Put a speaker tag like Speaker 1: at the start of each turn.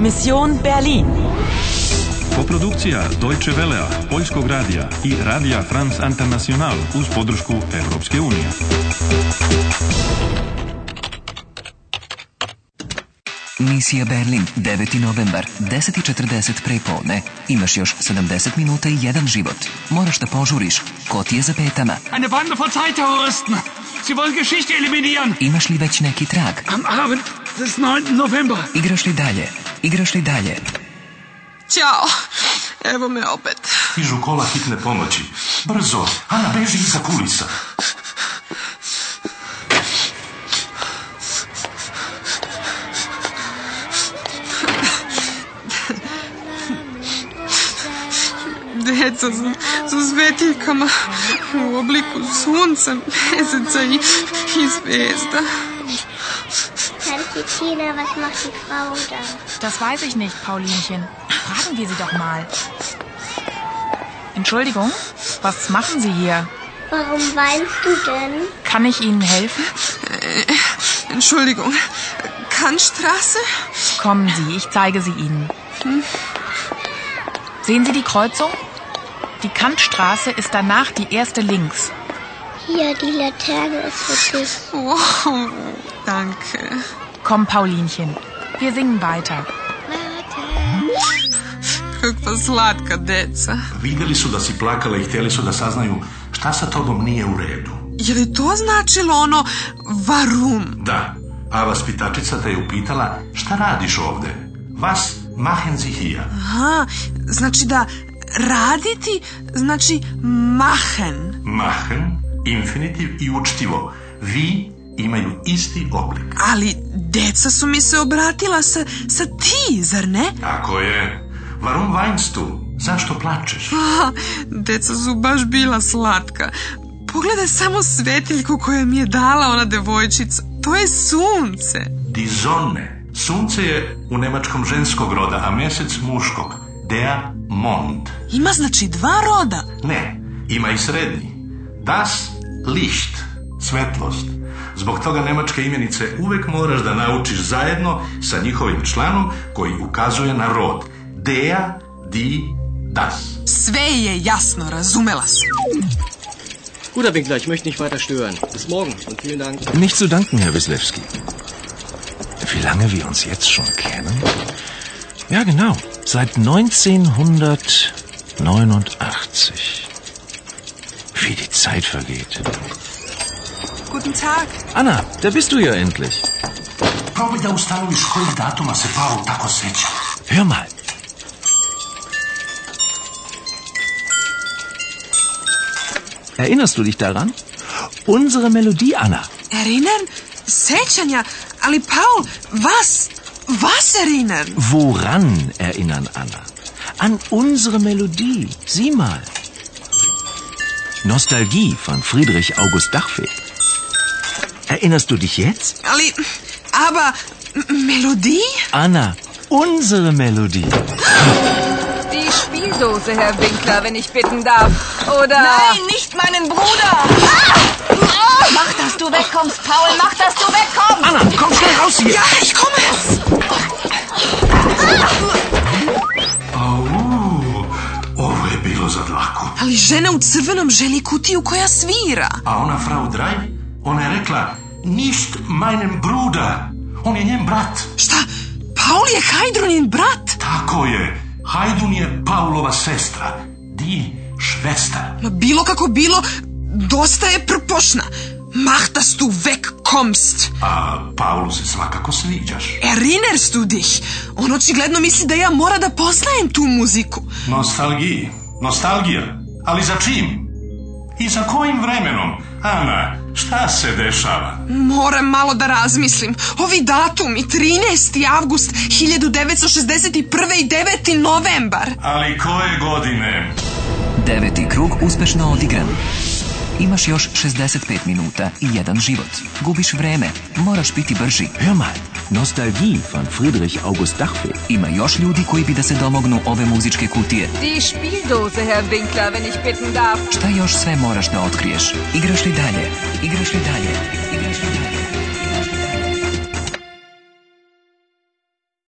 Speaker 1: Mission Berlin.
Speaker 2: Koprodukcija Deutsche Velea, Poljskog radija i Radija France International uz podršku Europske unije.
Speaker 3: Misija Berlin, 9. novembar, 10.40 prepodne. Imaš još 70 minuta i jedan život. Moraš da požuriš. Ko ti je za petama?
Speaker 4: Eine Bande von Zeitterroristen. Sie wollen Geschichte eliminieren.
Speaker 3: Imaš li već neki trag?
Speaker 4: Am Abend des 9. November.
Speaker 3: Igraš li dalje? Igraš li dalje?
Speaker 5: Ćao. Evo me opet.
Speaker 6: Stižu kola hitne pomoći. Brzo, Ana beži iza kulisa.
Speaker 5: Djeca su, su s svjetiljkama u obliku sunca, mjeseca i, i zvijezda.
Speaker 7: Herr was macht die Frau da?
Speaker 8: Das weiß ich nicht, Paulinchen. Fragen wir sie doch mal. Entschuldigung, was machen Sie hier?
Speaker 7: Warum weinst du denn?
Speaker 8: Kann ich Ihnen helfen?
Speaker 5: Entschuldigung, Kantstraße?
Speaker 8: Kommen Sie, ich zeige sie Ihnen. Sehen Sie die Kreuzung? Die Kantstraße ist danach die erste links.
Speaker 7: Hier, die Laterne ist für dich.
Speaker 5: Wow, danke.
Speaker 8: Komm, Paulinchen, wir singen weiter.
Speaker 5: Kakva slatka deca.
Speaker 6: Vidjeli su da si plakala i htjeli su da saznaju šta sa tobom nije u redu.
Speaker 5: Je li to značilo ono varum?
Speaker 6: Da, a vaspitačica te je upitala šta radiš ovde? Vas machen Sie hier.
Speaker 5: Aha, znači da raditi znači machen.
Speaker 6: Machen, infinitiv i učtivo. Vi imaju isti oblik.
Speaker 5: Ali deca su mi se obratila sa, sa ti, zar ne?
Speaker 6: Tako je. Varum weinst du? Zašto plačeš?
Speaker 5: Aha, deca su baš bila slatka. Pogledaj samo svetiljku koju mi je dala ona devojčica. To je sunce.
Speaker 6: Die Sonne. Sunce je u nemačkom ženskog roda, a mjesec muškog. Der Mond.
Speaker 5: Ima znači dva roda.
Speaker 6: Ne, ima i srednji. Das Licht, svetlost. Zbog toga nemačke imenice uvek moraš da naučiš zajedno sa njihovim članom koji ukazuje na rod. Dea, di, das.
Speaker 5: Sve je jasno, razumela sam.
Speaker 9: Gut, Herr Winkler, ich möchte nicht weiter stören. Bis morgen und vielen Dank.
Speaker 10: Nicht zu danken, Herr Wislewski. Wie lange wir uns jetzt schon kennen? Ja, genau. Seit 1989. Wie die Zeit vergeht.
Speaker 5: Guten Tag.
Speaker 10: Anna, da bist du ja endlich.
Speaker 6: Probaj da ustanoviš kojeg datuma se Paul tako seća.
Speaker 10: Hör mal. Erinnerst du dich daran? Unsere Melodie, Anna.
Speaker 5: Erinan, sećanja, ali Paul, vas, vas Erinan.
Speaker 10: Woran erinnern, Anna? An unsere Melodie. Sieh mal. Nostalgie von Friedrich August Dachfeld. Erinnerst du dich jetzt?
Speaker 5: Ali, aber, m- melodij?
Speaker 10: Anna, unsere Melodie.
Speaker 11: Die Spieldosen, Herr Winkler, wenn ich bitten darf. Oder. Nein, nicht meinen Bruder! Mach, dass du wegkommst, Paul, mach, dass du wegkommst!
Speaker 10: Anna, komm schnell raus hier.
Speaker 5: Ja, ich komme.
Speaker 6: Au, ovo je bilo za dlaku.
Speaker 5: Ali žena u crvenom želi kutiju koja svira.
Speaker 6: A ona frau Draj, ona je rekla, nicht meinem bruda. On je njen brat.
Speaker 5: Šta? Paul je Hajdrunin brat?
Speaker 6: Tako je. Hajdun je Paulova sestra. Di švesta.
Speaker 5: Ma Pa bilo kako bilo, dosta je prpošna. Machtas du wegkommst.
Speaker 6: A Paulu se svakako sviđaš.
Speaker 5: Erinnerst du dich? E, On očigledno misli da ja mora da poznajem tu muziku.
Speaker 6: Nostalgiji. Nostalgija. Ali za čim? I za kojim vremenom? Ana, šta se dešava?
Speaker 5: Moram malo da razmislim. Ovi datumi, 13. avgust 1961. i 9. novembar.
Speaker 6: Ali koje godine?
Speaker 3: Deveti krug uspešno odigran. Imaš još 65 minuta i jedan život. Gubiš vreme, moraš biti brži.
Speaker 10: Hör mal. Nostalgie von Friedrich August Dachfeld.
Speaker 3: Ima još ljudi koji bi da se domognu ove muzičke kutije.
Speaker 11: Die Spieldose, Herr Winkler, wenn ich bitten darf.
Speaker 3: Šta još sve moraš da otkriješ? Igraš li dalje? Igraš li dalje? Igraš li dalje?